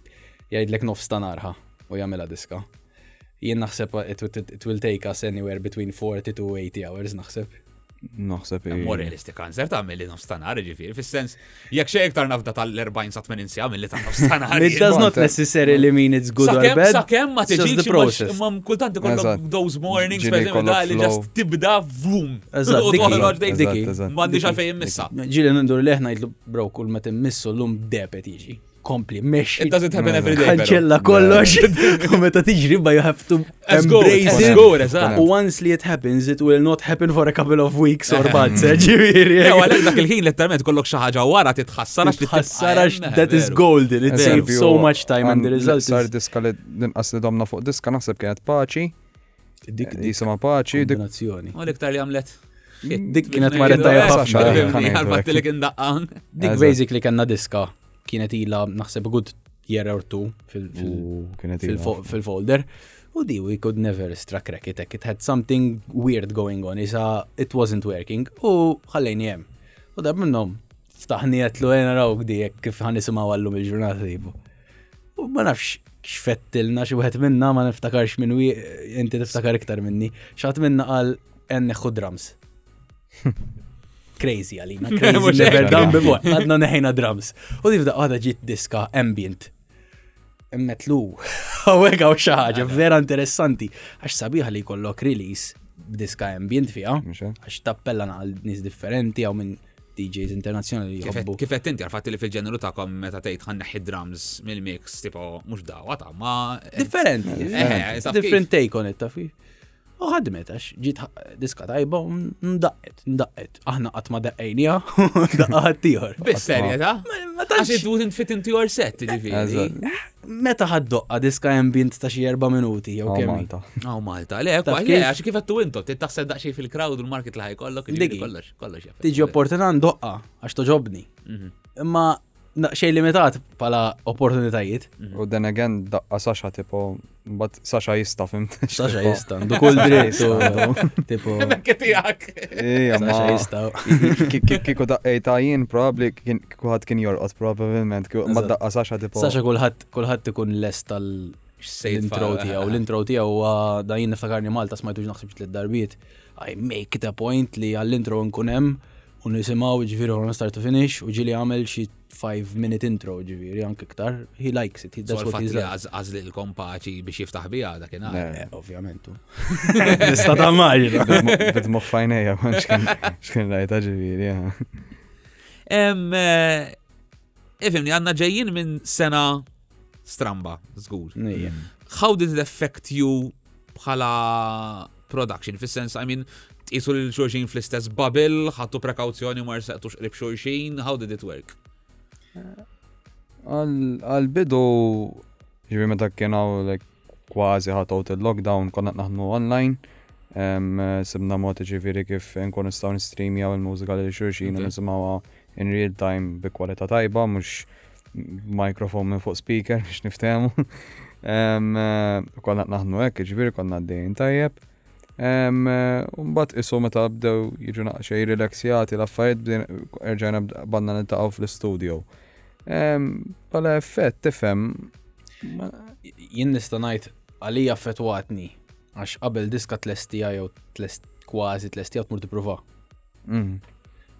Speaker 6: jgħidlek nofs ta' narħa u jagħmilha diska. Jien naħseb it, it, it will take us anywhere between 40 to 80 hours naħseb.
Speaker 7: Naħseb.
Speaker 6: Hmm.
Speaker 7: i-
Speaker 4: More realistic answer ta' mill-li nafstanar, ġifir, fil-sens, jek xej iktar nafda tal-40 sa' 80 sija mill-li ta' nafstanar.
Speaker 6: It does not necessarily mean it's good or bad.
Speaker 4: Sa' kem ma
Speaker 6: it's just the
Speaker 4: teġiċ,
Speaker 6: process.
Speaker 4: ma' kultant ikollok
Speaker 7: Eżatt.
Speaker 4: those mornings,
Speaker 7: Ġili
Speaker 4: per eżempju,
Speaker 7: jkollok
Speaker 4: da' li
Speaker 7: flow.
Speaker 4: ġast tibda vum.
Speaker 6: Eżatt,
Speaker 4: U
Speaker 6: dik hi,
Speaker 4: toħroġ dejjem
Speaker 6: eżatt,
Speaker 4: dik hi.
Speaker 7: eżatt.
Speaker 4: M'għandix għalfejn missa.
Speaker 6: Ġili nindur leħna jitlu bro kull ma timmissu l-lum debet jiġi. Kompli, meċi.
Speaker 4: It doesn't happen every day. però.
Speaker 6: Kanċella kollox. U meta tiġri ba you have to
Speaker 4: Let's go,
Speaker 6: embrace
Speaker 4: let's
Speaker 6: it.
Speaker 4: go, eżatt.
Speaker 6: U once li it happens, it will not happen for a couple of weeks or months. eh, Ġiviri.
Speaker 4: Ew, għalhekk dak il-ħin letteralment kollok xi ħaġa wara titħassar għax li tibqa'
Speaker 6: Ħassarax
Speaker 4: hemm,
Speaker 6: that is
Speaker 4: veru.
Speaker 6: golden. It saved
Speaker 7: Eżempju,
Speaker 6: so much time and the
Speaker 7: għan-
Speaker 6: result
Speaker 7: Sar
Speaker 6: is
Speaker 7: diska li dinqas li domna fuq diska, naħseb kienet paċi,
Speaker 6: dik
Speaker 7: jisima paċi, dik
Speaker 6: kombinazzjoni.
Speaker 4: U l-iktar li għamlet.
Speaker 6: Dik kienet marret tajjeb
Speaker 7: ħafna,
Speaker 6: ħafna.
Speaker 7: dik. ħanejdu
Speaker 4: Għalbat
Speaker 7: hekk.
Speaker 4: li kien daqqan.
Speaker 6: Dik
Speaker 7: Eżatt.
Speaker 6: basically kanna diska kienet ila naħseb good year or two fil- fil-
Speaker 7: U kienet
Speaker 6: fil-
Speaker 7: ilha.
Speaker 6: fil- fil-folder. U di, we could never struck racket. It had something weird going on. Isa, it wasn't working. U ħallejni jem. U da minnom, ftaħni għatlu għena rawk di, jekk kif ħan nisimaw għallum il-ġurnata tibu. U ma nafx xfettilna xi wieħed minna ma niftakarx minn wi inti tiftakar iktar minni. Xaħat minna qal en neħu drums. Crazy għalina,
Speaker 4: Mhux
Speaker 6: crazy never
Speaker 4: hekk.
Speaker 6: done before. Għadna neħejna drums. U di fda għada ġit diska ambient. Emmetlu. Għawek għaw xaħġa, vera interessanti. Għax sabiħa li kollok release b'diska ambient fija.
Speaker 4: Mm.
Speaker 7: Mhux hekk.
Speaker 6: Għax tappella għal nis differenti għaw minn DJs internazjonali li jobbu.
Speaker 4: Kif qed inti għarfat li fil-ġeneru ta'kom meta tgħid ħanneħħi drums mill-mix tipo mhux dawa ta' ma.
Speaker 6: Differenti.
Speaker 4: Eh, differenti.
Speaker 6: different. Different take on it, tafi. U ħadmet, għax ġit ħa- diska tajba u ndaqqet, ndaqqet. Aħna qatt ma daqqejnija, daqqaħat tiħor.
Speaker 4: Biss serja ta'
Speaker 6: ma tantx-
Speaker 4: għax it wouldn't fit into your set
Speaker 6: Eh,
Speaker 4: ġifieri.
Speaker 7: Eżatt.
Speaker 6: Meta ħaddoqqa diska ambient ta' xi erba' minuti, jew
Speaker 7: Aw,
Speaker 6: kemm.
Speaker 7: Malta.
Speaker 4: Aw Oh, Malta, le
Speaker 6: Taf
Speaker 4: għax
Speaker 6: kif?
Speaker 4: għax kif qed intom, tittaħseb daqsxejn fil-crowd u l-market li ħajkollok
Speaker 6: Digi.
Speaker 4: ġifieri kollox, kollox jaff.
Speaker 6: Tiġi opportunità ndoqqa għax toġobni. Imma na- xej limitat pala opportunitajiet.
Speaker 7: U then again, daqqa Sasha, tipo, but Sasha jista, fimt.
Speaker 6: Saxa jista, ndu kull dritt. u- Tipo,
Speaker 4: Mekk tiegħek.
Speaker 7: Ija,
Speaker 6: saxa
Speaker 7: ma.
Speaker 6: jista.
Speaker 7: Ki- ki- Kiku daqqejta jien, probably, kien- kiku ħad kien jorqot, probablement, kiku- ma
Speaker 6: Eżatt.
Speaker 7: daqqa Sasha, tipo.
Speaker 6: Saxa kulħadd kulħadd ikun lest tal l-intro tiegħu. L-intro tiegħu huwa da jien niftakarni Malta smajtu naħseb xi tliet darbiet. I make it a point li għall-intro nkun hemm u nisimaw ġviri from start to finish u ġili għamel xi 5 minute intro ġviri anke iktar. He likes it, he does
Speaker 4: Sol
Speaker 6: what he
Speaker 4: fatti
Speaker 6: likes.
Speaker 4: għazli l-kompaċi biex jiftaħ bija dakinhar.
Speaker 7: Eh,
Speaker 6: Ovvjament. Nista ta' maġi.
Speaker 7: Bid-moħ fajnija, man xkien rajta ġiviri.
Speaker 4: Em, eh, ifimni, għanna ġejjin minn sena stramba, zgur. How did it affect you bħala production? Fis-sens, I mean, tqisu l-xurxin fl-istess bubble, ħattu prekawzjoni mar seqtux qrib xurxin, how did it work?
Speaker 7: Għal-bidu, ġiviri meta kienaw like, kważi ħatawt il-lockdown, konna naħnu online. Em, eh, Sibna mod ġiviri kif nkun nistaw nistreamjaw il-mużika li xurxin,
Speaker 4: Ok.
Speaker 7: nisimawa in real time bi kwalità tajba, mux mikrofon minn fuq speaker biex niftemu. Em, eh, Konna naħnu ek, ġiviri konna d-dejn tajjeb. Um, Umbat isu meta bdew jiġu naqxej relaxjati l-affarijiet bdejn- erġajna bd- banna nintaqgħu fl-istudio. Um, Bala effett tifhem.
Speaker 6: Jien nista' ngħid għalija affettwatni għax qabel diska tlestija jew tlest kważi tlestija tmur tipprova.
Speaker 7: Mm,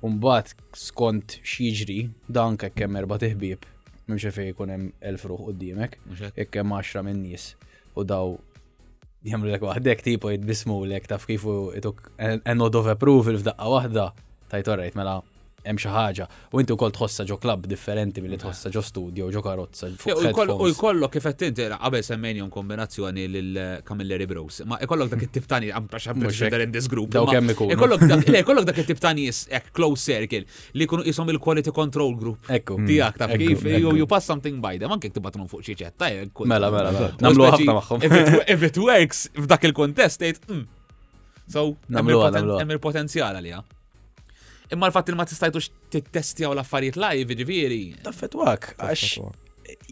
Speaker 6: Umbat skont xieġri dan kek kemm erba' tiħbieb m'hemmx fej jkun hemm elf ruħ qudiemek,
Speaker 4: Mhux hekk?
Speaker 6: jekk hemm 10 minn nies u daw jagħmlu lek waħdek tipo jitbismu lek taf kifu ituk an nod of approval f'daqqa waħda tajt orrejt mela hemm xi ħaġa u inti wkoll tħossa ġo klabb differenti milli tħossa ġo studio ġo karozza
Speaker 4: Ja,
Speaker 6: fuq
Speaker 4: U jkoll- u
Speaker 6: headphones.
Speaker 4: jkollok kif qed inti qabel semmejnihom kombinazzjoni lil Camilleri Bros. Ma jkollok dak it-tip tani għam biex għam
Speaker 6: Mhux hekk.
Speaker 4: in this group.
Speaker 6: Daw
Speaker 4: ma
Speaker 6: kemm ikunu.
Speaker 4: Jkollok dak- le, jkollok dak it-tip tani jis- hekk close circle li jkunu isom il-quality control group.
Speaker 6: Ekku.
Speaker 4: Tijak taf
Speaker 6: Hmm. ekku,
Speaker 4: kif you
Speaker 6: ekku.
Speaker 4: you pass something by them anke tibatnum fuq xi ċetta. jekk kull-
Speaker 6: Mela, mela, mela.
Speaker 4: U
Speaker 6: Namlu
Speaker 4: speċi,
Speaker 6: ħafna magħhom.
Speaker 4: if it- If it works f'dak il-kontest tgħid "Mm." So, hemm
Speaker 6: Namluha,
Speaker 4: il-poten-
Speaker 6: namluha.
Speaker 4: hemm il-potenzjal għalija. Imma l-fatt li ma tistajtux tittestjaw l-affarijiet live, ġifieri.
Speaker 6: Taffetwak, għax
Speaker 7: taffetwak.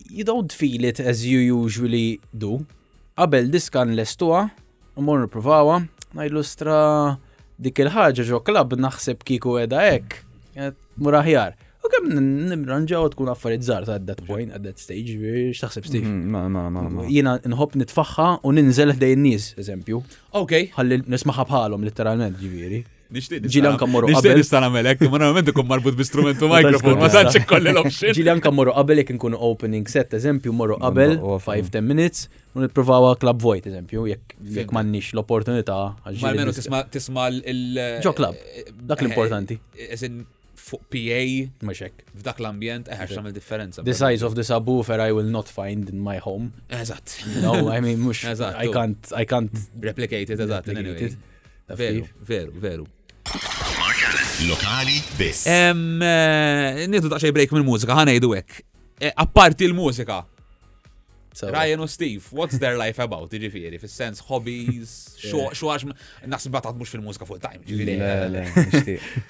Speaker 6: you don't feel it as you usually do. Qabel diskan l-estuwa, morru provawa, najlustra dik il-ħagġa ġo klab naħseb kiku edha ek, muraħjar. U kem nimranġaw tkun affarid zar ta' at that point, at that stage, biex taħseb Steve.
Speaker 7: mm, Ma, ma, ma, ma.
Speaker 6: Jina nħob nitfaxħa u ninżel ħdejn nies, eżempju.
Speaker 4: Okay.
Speaker 6: Ħalli nismaħa bħalhom literalment ġiviri.
Speaker 4: Nixtieq
Speaker 6: Ġili anka mmorru
Speaker 4: Nixtieq
Speaker 6: qabel.
Speaker 4: nistana melek, ma normalment ikun marbut bi strumentu mikrofon, ma tantx ikolli l-option.
Speaker 6: Ġili anka morru qabel jek nkunu opening set, eżempju, morru qabel
Speaker 7: Naqwa fuq.
Speaker 4: mm.
Speaker 6: 5-10 minutes, u nipprovawa Club Void, eżempju, jekk
Speaker 4: Fim.
Speaker 6: jekk m'għandniex l-opportunità. għal
Speaker 4: Ma
Speaker 6: ġili
Speaker 4: almenu
Speaker 6: nis-
Speaker 4: tisma tisma il-
Speaker 6: Ġo club, dak l-importanti.
Speaker 4: Eh, Eżin fuq PA
Speaker 6: Ma xek.
Speaker 4: f'dak l-ambjent, eh għax tagħmel differenza.
Speaker 6: The size of the subwoofer I will not find in my home.
Speaker 4: Eżatt.
Speaker 6: No, I mean, mux,
Speaker 4: Eżatt,
Speaker 6: I
Speaker 4: tu.
Speaker 6: can't, I can't.
Speaker 4: Replicated, eżatt, in any way.
Speaker 6: Replicated. Taf
Speaker 4: Veru,
Speaker 6: kif.
Speaker 4: veru, veru.
Speaker 1: Lokali biss.
Speaker 4: Em, eh, Nieħdu daqsxejn break mill-mużika, ħanejdu hekk. Eh, Apparti l-mużika,
Speaker 6: So,
Speaker 4: Ryan u Steve, what's their life about, ġifieri, fis-sens hobbies, xo għax nasib batad mux fil-mużika full time, ġifieri.
Speaker 7: Le, le, nixtieq.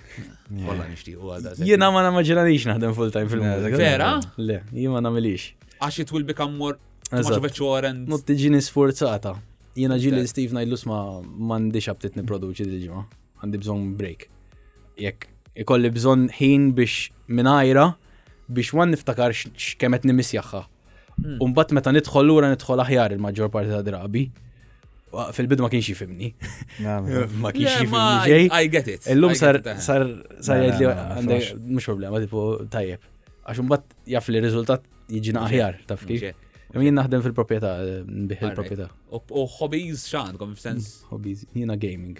Speaker 4: Kolla nixtiequ għal da'
Speaker 6: Jiena ma nammaġinanix naħdem full time
Speaker 7: dak
Speaker 6: fil-mużika.
Speaker 4: Vera?
Speaker 6: Le, jien ma namilix.
Speaker 4: għax it will become more too much
Speaker 6: Eżatt.
Speaker 4: of a chore and
Speaker 6: Not tiġini sforzata. Jiena ġili Steve najdlus ma mandiċ abtit niproduċi dil-ġimma. Għandi bżon break. Jekk ikolli bżon ħin biex minajra biex wan niftakar x- x'kemet nimisjaħħa.
Speaker 4: Hmm.
Speaker 6: Umbat meta nidħol lura nidħol aħjar il-maġġor parti ta' drabi. Wa- Fil-bidu ma kienx jifimni.
Speaker 7: Na, ma.
Speaker 6: ma kienx
Speaker 4: Yeah, ma,
Speaker 6: jifimni
Speaker 4: I,
Speaker 6: ġej.
Speaker 4: I get it. I
Speaker 6: Illum
Speaker 4: get
Speaker 6: sar
Speaker 4: it, eh.
Speaker 6: sar sar
Speaker 7: Na, na,
Speaker 6: jgħid li
Speaker 7: na, na,
Speaker 6: għandek
Speaker 7: flash.
Speaker 6: mhux problema tipo tajjeb. Għax imbagħad jaf li riżultat jiġina aħjar taf kif.
Speaker 4: Mhux
Speaker 6: Imma jien naħdem fil-proprjetà, nbiħ
Speaker 4: Alright.
Speaker 6: il-proprjetà.
Speaker 4: U u hobbies xan, kom f'sens
Speaker 6: Hobbies, jiena gaming.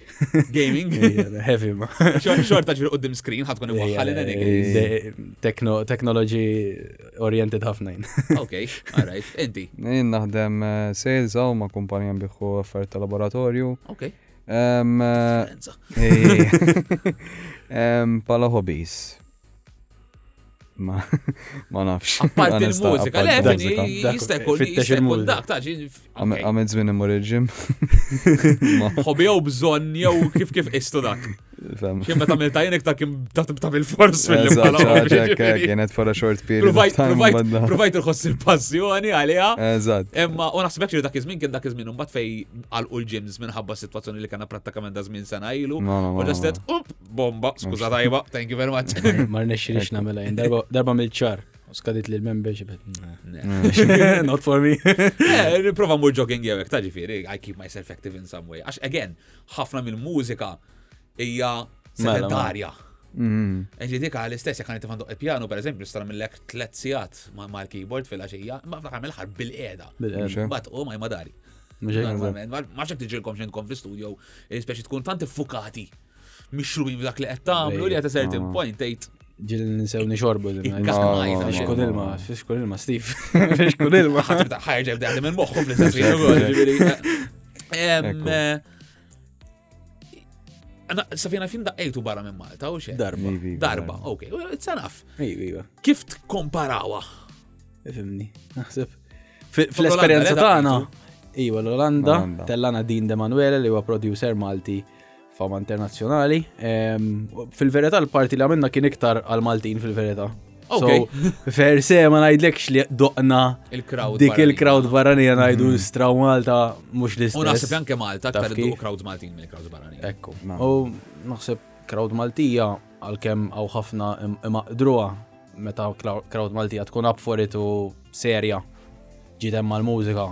Speaker 4: gaming.
Speaker 6: Heavy ma.
Speaker 4: Xor- Xorta ġviri qoddim screen, ħatkun imwaħħal in any case.
Speaker 6: eh, De- techno- Technology oriented ħafna jien.
Speaker 4: Ok, alright, inti.
Speaker 7: Jien naħdem eh, sales għaw ma kumpanija biħu affarijiet ta' laboratorju.
Speaker 4: Ok,
Speaker 7: Em, eh,
Speaker 4: Enza.
Speaker 7: Ej, Em, Pala hobbies. Ma, ma nafx.
Speaker 4: Parti
Speaker 7: Onesta,
Speaker 4: l-mużika, le,
Speaker 7: apparti
Speaker 4: fini,
Speaker 7: l-mużika.
Speaker 6: dak-
Speaker 4: jista' jkun
Speaker 6: fittex
Speaker 4: jista' jkun
Speaker 6: il-mużika.
Speaker 4: dak, taċi.
Speaker 7: Għam- Għamet zmin imur il-ġim.
Speaker 4: Hobby jew bżonn jew kif kif istu dak.
Speaker 7: Fem.
Speaker 4: Kim meta mill tajnek ta' kim ta' ta' bil-fors fil-lim
Speaker 7: Eżatt,
Speaker 4: bħala hobby,
Speaker 7: ċaċa,
Speaker 4: ġifieri.
Speaker 7: kek, Kienet for a short period. of
Speaker 4: Provajt,
Speaker 7: time,
Speaker 4: provajt,
Speaker 7: badda.
Speaker 4: provajt irħoss il-passjoni għalija.
Speaker 7: Eh. Eżatt.
Speaker 4: Emma, u naħsbek li dak iż-żmien kien dak iż-żmien imbagħad fej għalqu l-ġims minħabba s-sitwazzjoni li kena prattikament da żmien sena ilu.
Speaker 7: No, no, no,
Speaker 4: U
Speaker 7: no,
Speaker 4: ġastet, up, bomba, skuża tajba, thank you very much.
Speaker 6: Mar nexxirix namela jien. darba- Darba mill-ċar. U skadit li l-membership.
Speaker 7: Mm.
Speaker 6: Not for me.
Speaker 4: Eh, Niprofa mur jogging jew hekk, ta' ġifieri, I keep myself active in some way. Għax again, ħafna mill-mużika hija
Speaker 6: Mela, mela.
Speaker 4: sedentarja.
Speaker 7: Mm,
Speaker 4: Eġi dik għal istess, jek għanet għandu il-pjano, per eżempju, stara millek tlet sijat ma' l-keyboard fil-axija, ma' fl għamil ħar bil-qeda.
Speaker 6: Bil-qeda.
Speaker 4: Bat u ma' oh madari. Ma' xek tiġilkom xenkom fil-studio, e speċi tkun tant fukati, mixrubin b'dak li qed tagħmlu li qed a certain
Speaker 6: Ah.
Speaker 4: point tgħid
Speaker 6: Ġil nisewni xorbu.
Speaker 4: Ikkaskamajta,
Speaker 6: Fiex
Speaker 4: xorbu.
Speaker 6: kull ilma, fiex kull ilma, Steve.
Speaker 7: Fiex kull ilma.
Speaker 4: ħadd ħajġeb daħdem minn moħħu fl-istess ħin ukoll, ġifieri. Em,
Speaker 7: Ekku.
Speaker 4: eh, Għana, safina fin daqqejtu barra minn Malta u xe?
Speaker 6: Darba.
Speaker 7: Ivi,
Speaker 4: Darba, ok, well, it's enough.
Speaker 6: Iva, iva.
Speaker 4: Kif tkomparawa?
Speaker 6: Fimni. Naħseb. Fi- Fl-esperienza
Speaker 4: L-Olanda,
Speaker 6: tagħna. Iva l-Olanda,
Speaker 7: L-Olanda.
Speaker 6: tellana Dean De Manuele li huwa producer Malti fama internazzjonali. Em, u Fil-verità l-parti li għamilna kien iktar għal-Maltin fil-verità.
Speaker 4: Ok.
Speaker 6: So, fer se ma najdlekx li doqna
Speaker 4: Il-crowd
Speaker 6: dik
Speaker 4: barranija.
Speaker 6: il-crowd barranija najdu straw Malta mux
Speaker 4: U naħseb
Speaker 6: l-istess.
Speaker 4: anke Malta,
Speaker 6: Taf
Speaker 4: aktar iddu
Speaker 6: kif?
Speaker 4: crowds Maltin mill crowds barranin.
Speaker 6: Ekku. U naħseb crowd Maltija għal-kem għaw ħafna im- imaqdruha meta clou- crowd Maltija tkun up for it u serja ġiet hemm mal-mużika.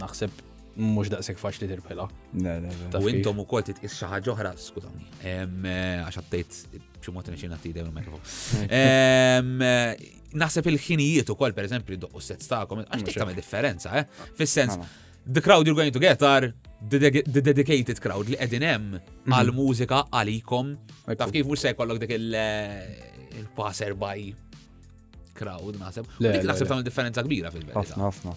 Speaker 6: Naħseb mhux daqshekk faċli tirbħilha.
Speaker 7: Le, le, le.
Speaker 6: Taf
Speaker 4: U
Speaker 6: kif?
Speaker 4: intom ukoll titqis xi ħaġa oħra, skutani. Għax għattejt xi mod nixin għattid hemm il-mikrofon. Em, eh, Naħseb il-ħinijiet ukoll pereżempju doqqu sets tagħkom, għax dik tagħmel differenza, eh? Fis-sens,
Speaker 6: Mela.
Speaker 4: the crowd you're going to get are the ded- the dedicated crowd li qegħdin hemm
Speaker 6: Mhm.
Speaker 4: għal-mużika għalikom. Taf kif mhux se jkollok dik il- eh, il-passer by crowd naħseb. U
Speaker 6: Le,
Speaker 4: dik
Speaker 6: le,
Speaker 4: naħseb
Speaker 6: le.
Speaker 4: tagħmel differenza kbira fil-verità.
Speaker 7: ħafna ħafna.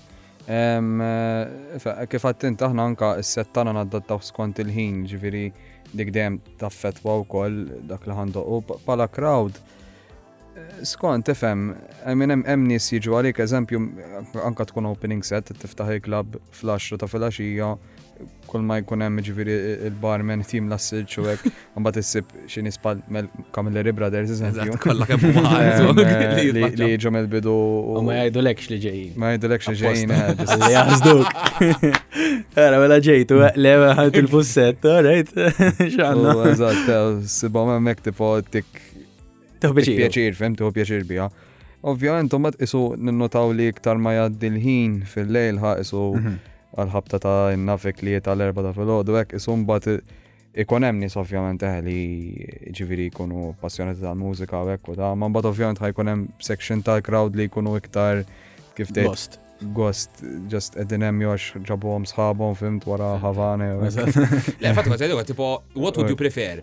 Speaker 7: Em, eh, fe- Kif għattint aħna anka s-settana naddattaw skont il-ħin ġifiri dik dejjem taffetwa u koll dak li ħandu u pa- pala crowd. eh, Skont tifhem, minn hemm hemm nies jiġu għalik eżempju m- anka tkun opening set tiftaħ il-klab fl-10 ta' filgħaxija kull ma jkun hemm ġifiri il-barman tim l-assilġ u hekk mbagħad issib xi nies bħal Mel- Camilleri Brothers eżempju.
Speaker 4: Eżatt, kollha kemm huma
Speaker 7: Em,
Speaker 4: ħadd,
Speaker 7: Ah, eh,
Speaker 4: li
Speaker 7: Li li
Speaker 4: jitbaċċaw.
Speaker 7: jiġu mill-bidu
Speaker 6: U
Speaker 7: u
Speaker 6: ma jgħidulekx li ġejjin.
Speaker 7: ma jidulek xi ġejjin eh, dis-
Speaker 6: Li jazduk. Ara, mela ġejtu, le ħant il-fusset, alright, xanna.
Speaker 7: U, Eżatt, eh, sibom hemmhekk tipo tik tik
Speaker 6: Tuħbiċi.
Speaker 7: pjaċir, fim, tuħu pjaċir bija. Ovvjament, u isu ninnotaw li iktar ma jgħaddi l-ħin fil-lejl ħa isu għal-ħabta ta' innafik li tal erba ta' fil-ħodu, għek isu mbagħad ikun hemm nies ovvjament eh li ġifieri jkunu passjonati tal-mużika u hekk u ta' ma mbagħad ovvjament ħajkun hemm section tal-crowd li jkunu iktar kif tgħid
Speaker 6: Lost.
Speaker 7: gost just qegħdin hemm jox ġabuhom sħabhom fimt wara ħavane u hekk.
Speaker 4: Le, fatta għazaj għu, tipo, what would you prefer?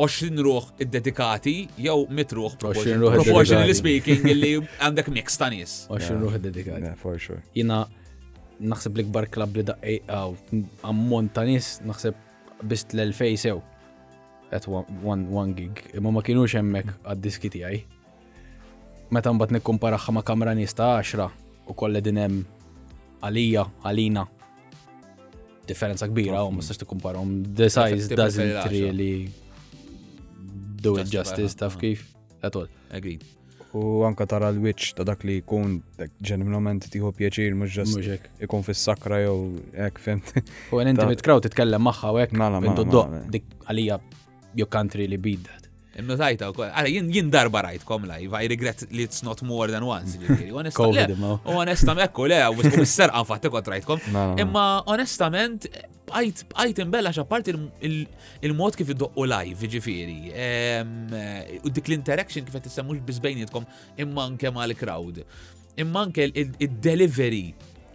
Speaker 4: 20 ruħ id-dedikati jew mitruħ
Speaker 6: 20 ruħ
Speaker 4: proportionally
Speaker 6: id-dedikati.
Speaker 4: speaking illi għandek mix ta' nies.
Speaker 6: Għaxin ruħ dedikati.
Speaker 7: Yeah, For sure.
Speaker 6: jina naħseb l-ikbar klab li eh, daqqi għaw ammont ta' nis naħseb bist l-2000 sew. At one, one, one gig. Imma ma kienux hemmhekk għad-diski tiegħi. Meta mbagħad nikkumparaħħa ma' kamra nies ta' 10 u kollha din hemm għalija, għalina. Differenza kbira u ma tistax tikkumparhom. The size
Speaker 4: Effettiv
Speaker 6: doesn't
Speaker 4: differenza.
Speaker 6: really do it
Speaker 4: Justify
Speaker 6: justice
Speaker 4: ħafna,
Speaker 6: taf kif. At all.
Speaker 4: Agreed.
Speaker 7: U anka tara l-witch ta' dak li jkun dak ġenwinament tiħu pjaċir, mux
Speaker 6: Mhux hekk.
Speaker 7: ġast ikun fis-sakra jew hekk fimt.
Speaker 6: U għan inti
Speaker 7: Ta-
Speaker 6: mitkraw titkellem maħħa u għek.
Speaker 7: Mela, mela,
Speaker 6: Intu
Speaker 7: mela,
Speaker 6: doq,
Speaker 7: mela.
Speaker 6: dik għalija, your country li bid that.
Speaker 4: Notajta u koll, għara jien darba rajt kom live, I regret li it's not more than once. ġifieri. Onesta- le,
Speaker 6: Covid imma.
Speaker 4: U onestam ekku, le, u bis- u mis-serqa fatti kont rajtkom.
Speaker 7: No, no, no.
Speaker 4: Imma onestament, għajt għajt imbella xappart il-mod kif id-doqqu live, ġifiri. Em, eh, U dik l-interaction kif qed tissemmux bizbejnietkom imma anke mal-crowd. Imma anke il- il- il-delivery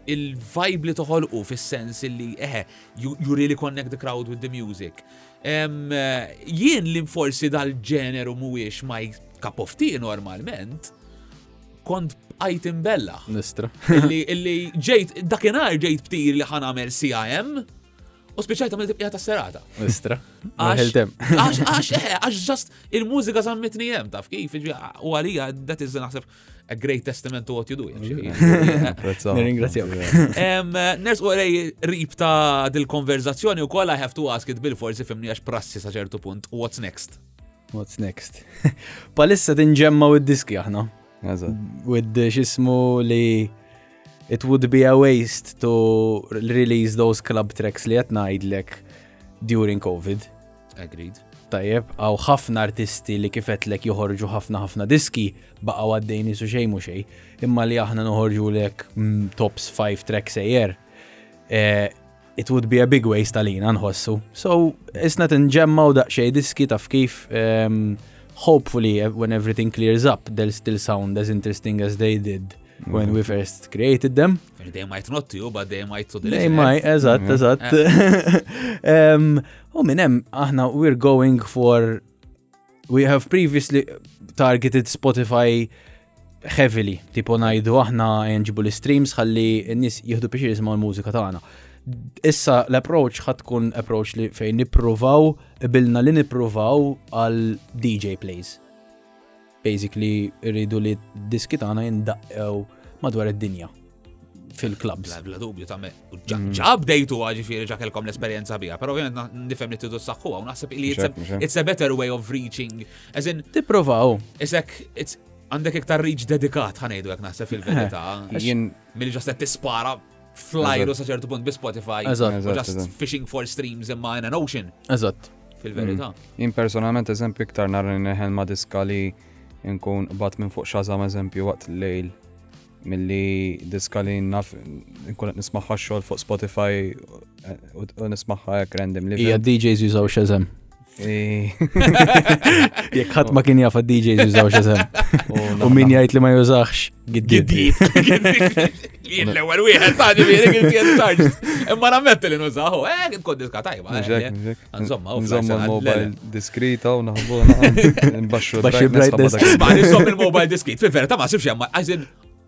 Speaker 4: il-vibe li toħolqu fis-sens illi eħe, you, you really connect the crowd with the music. Em, eh, jien li forsi dal-ġeneru mhuwiex ma cup of tea normalment, kont għajt imbella
Speaker 6: Nistra.
Speaker 4: illi, illi ġejt, dakinar ġejt ptir li ħan għamel CIM u speċajt għamil tibqija ta' serata.
Speaker 6: Nistra.
Speaker 4: Għax,
Speaker 6: Għaxiltem.
Speaker 4: għax, għax, eh, għax, just il-mużika zammitni jem, taf kif, ġi, u għalija, that is, naħseb, a great testament to what you do. actually.
Speaker 6: Nirringrazzjaw.
Speaker 4: Em, Ners u għalij rib ta' dil-konverzazzjoni u kolla I have to ask it bil-forsi fimni għax prassi sa' ċertu punt, what's next?
Speaker 6: What's next? Palissa tinġemma u diski aħna. With xismu li it would be a waste to release those club tracks li jatnajdlek during COVID.
Speaker 4: Agreed.
Speaker 6: Tajjeb, għaw ħafna artisti li kifetlek joħorġu ħafna ħafna diski, baqa għaddejni su xej mu xej, imma li aħna noħorġu lek mm, tops 5 tracks a year. Eh, it would be a big waste għalina nħossu. So, isna tinġemma u daqxej diski taf kif em, ehm, hopefully eh, when everything clears up they'll still sound as interesting as they did when we first created them.
Speaker 4: They might not you, but they might to the
Speaker 6: They
Speaker 4: listener.
Speaker 6: might, eżatt, eżatt. Em, U minn hemm aħna we're going for we have previously targeted Spotify heavily. Tipo najdu aħna nġibu l-streams ħalli n-nis jihdu biex jismaw l-mużika tagħna. Issa l-approach ħad tkun approach li fejn nippruvaw bilna li nippruvaw għal DJ plays. Basically rridu li diski tagħna jindaqqew madwar id-dinja fil-clubs.
Speaker 4: Bla bla dubju ta' me. u ġa-
Speaker 7: Mm-hmm.
Speaker 4: Ġa updateu ġifiri ġa kelkom l-esperienza bija, pero ovvijament na- nifem li t-tiddu s-saxħu, u naħseb li it's a-
Speaker 7: Mxek, mxek.
Speaker 4: it's a better way of reaching. As in,
Speaker 6: Tipprovaw.
Speaker 4: isek, it's għandek iktar reach dedikat ħanejdu għek naħseb fil-verita.
Speaker 7: Jien
Speaker 4: Mill ġast qed tispara flyer u sa ċertu punt bi Spotify.
Speaker 6: Eżatt.
Speaker 4: U just
Speaker 7: Eżatt, eżatt.
Speaker 4: fishing for streams imma in an ocean
Speaker 6: Eżatt.
Speaker 4: fil-verita.
Speaker 7: Jien personalment eżempju iktar narra neħen ma diska li nkun bat minn fuq xazam eżempju waqt lejl mill-li diska li naf nkun qed nismaħħa xogħol fuq Spotify eh, u u nismaħħa hekk random li
Speaker 6: Ija DJs jużaw Shazam.
Speaker 7: u
Speaker 6: Jek ħadd ma kien jafa DJs jużaw Shazam. U min jgħid li ma jużax giddi.
Speaker 4: Giddiet. Jien l-ewwel wieħed ta' ġifieri kif charged. Imma nammetti li nużaħu, eh, kien kod diska tajba. eh, eh. Insomma, u
Speaker 7: nżomma
Speaker 4: fl-arsenal,
Speaker 7: l-mobile
Speaker 4: le,
Speaker 7: diskrita u naħbu naħ- nbaxxu
Speaker 6: Baxxi
Speaker 7: brightness
Speaker 6: brightness.
Speaker 7: ħabba dak.
Speaker 4: Ma nisom il-mobile diskit, fil-verita ma sibx jemma, as in,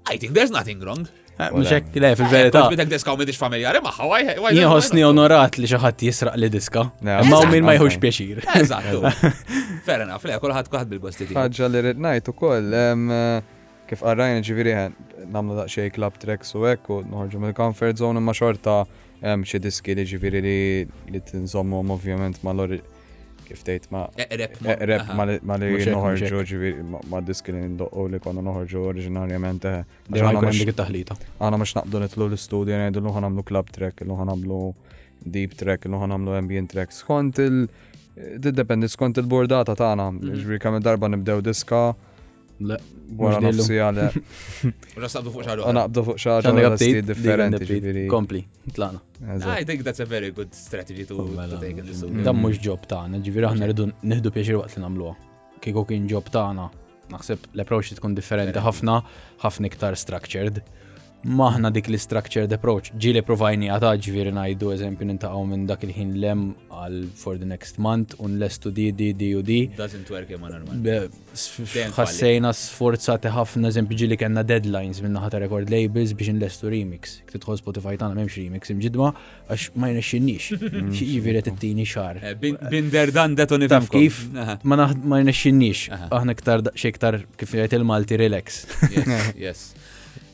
Speaker 4: I think there's nothing wrong.
Speaker 6: Mxek, Ah, le, fil-verità.
Speaker 4: Għax bitek diska u midix familjari maħħa, why- why don't-
Speaker 6: Jien ħossni
Speaker 4: why not?
Speaker 6: onorat li xi ħadd jisraq li diska.
Speaker 7: Ne,
Speaker 6: Ma u
Speaker 7: eżatt,
Speaker 6: min ma jħux
Speaker 7: eżatt.
Speaker 6: pjaċir.
Speaker 4: Eżattu. Fair enough, le, kolħat kolħat bil-gosti tiegħu.
Speaker 7: ħagġa li rrit najt u koll, kif għarrajna ġiviri namlu daqxie club tracks u ek u nħorġu mill-comfort zone imma xorta em, xie diski li ġiviri li li tinżommu ovvjament ma l kif tejt ma
Speaker 4: Eqreb Eh, ma-
Speaker 6: eh,
Speaker 7: Eqreb
Speaker 4: aha.
Speaker 7: ma li- ma li
Speaker 6: Mhux hekk, mhux
Speaker 7: noħorġu
Speaker 6: hekk.
Speaker 7: ġiviri ma diski li ndoqqu li konna noħorġu oriġinarjament eh, għax
Speaker 6: Dejjem
Speaker 7: aħna
Speaker 6: jkun
Speaker 7: mhux-
Speaker 6: dik it-taħlita.
Speaker 7: għana mux naqdu nitlu l-studio għajdu l-luħan għamlu club track, l-luħan għamlu deep track, l-luħan għamlu ambient track. Skont il- Didependi skont il-bordata tagħna, ġri kemm darba nibdew diska
Speaker 6: Le,
Speaker 7: wara
Speaker 6: Mm-hmm. mhux dillu.
Speaker 7: nofsi għale
Speaker 4: U naqstabdu fuq xaħdu.
Speaker 7: naqbdu fuq xaġa
Speaker 6: Għandek
Speaker 7: wara sti
Speaker 6: update, different
Speaker 7: differenti ġifieri.
Speaker 6: Kompli, tlaqna.
Speaker 7: Eżatt.
Speaker 4: I think that's a very good strategy to, to take in this.
Speaker 6: Dan mhux ġob tagħna, ġifieri aħna rridu nieħdu pjaċir waqt li nagħmluha. Kieku kien ġob tagħna, naħseb l-approach tkun differenti ħafna, ħafna iktar structured. Maħna dik li structured approach, ġili provajni għata ġifieri ngħidu eżempju nintaqgħu minn dak il-ħin lem għal for the next month un lestu di di di u di.
Speaker 4: Doesn't work imma normal.
Speaker 6: Be-
Speaker 4: Dejjem
Speaker 6: ħassejna sforzati ħafna eżempju ġili kellna deadlines minn naħa ta' record labels biex nlestu remix. Kif tidħol Spotify tagħna m'hemmx remix imġidma għax ma jnexxinniex. Jiġifieri qed tittini xahar.
Speaker 4: Eh, bin- Binder dan that on
Speaker 6: Taf kif? Ma naħd ma jnexxinniex. Aħna ktar xi ktar kif jgħid il-Malti relax.
Speaker 4: Yes, yes.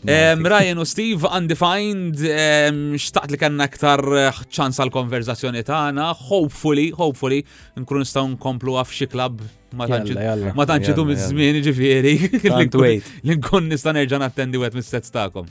Speaker 4: Um, Ryan u Steve undefined, um, xtaqt li kanna aktar eh, ċans għal konverzazzjoni tagħna. Hopefully, hopefully, nkunu nistgħu nkomplu għaf xi klab ma
Speaker 6: Jalla, jalla.
Speaker 4: tantx- ma tantx idu
Speaker 7: Jalla, jalla.
Speaker 4: miż-żmien ġifieri. Li
Speaker 6: Can't
Speaker 4: nkun-
Speaker 6: wait.
Speaker 4: Li nkun nista' nerġa' nattendi wieħed mis-sets tagħkom.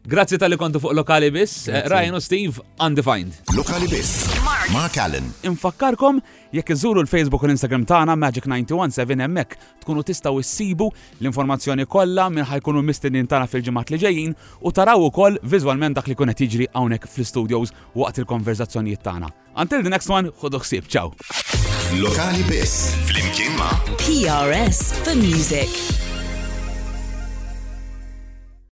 Speaker 4: Grazzi tal-li kontu fuq lokali biss. Eh, Ryan u Steve undefined.
Speaker 1: Lokali biss. Mark Allen.
Speaker 8: infakkarkom jekk iżuru l-Facebook u l-Instagram tagħna Magic917 hemmhekk tkunu tistgħu issibu l-informazzjoni kollha minn ħajkunu mistednin tagħna fil-ġimgħat li ġejjin u taraw ukoll viżwalment dak li kun qed jiġri hawnhekk fl-studios waqt il-konverzazzjonijiet tagħna. Until the next one, ħodu ħsieb, ciao.
Speaker 1: Lokali biss. Flimkien ma'
Speaker 5: PRS for music.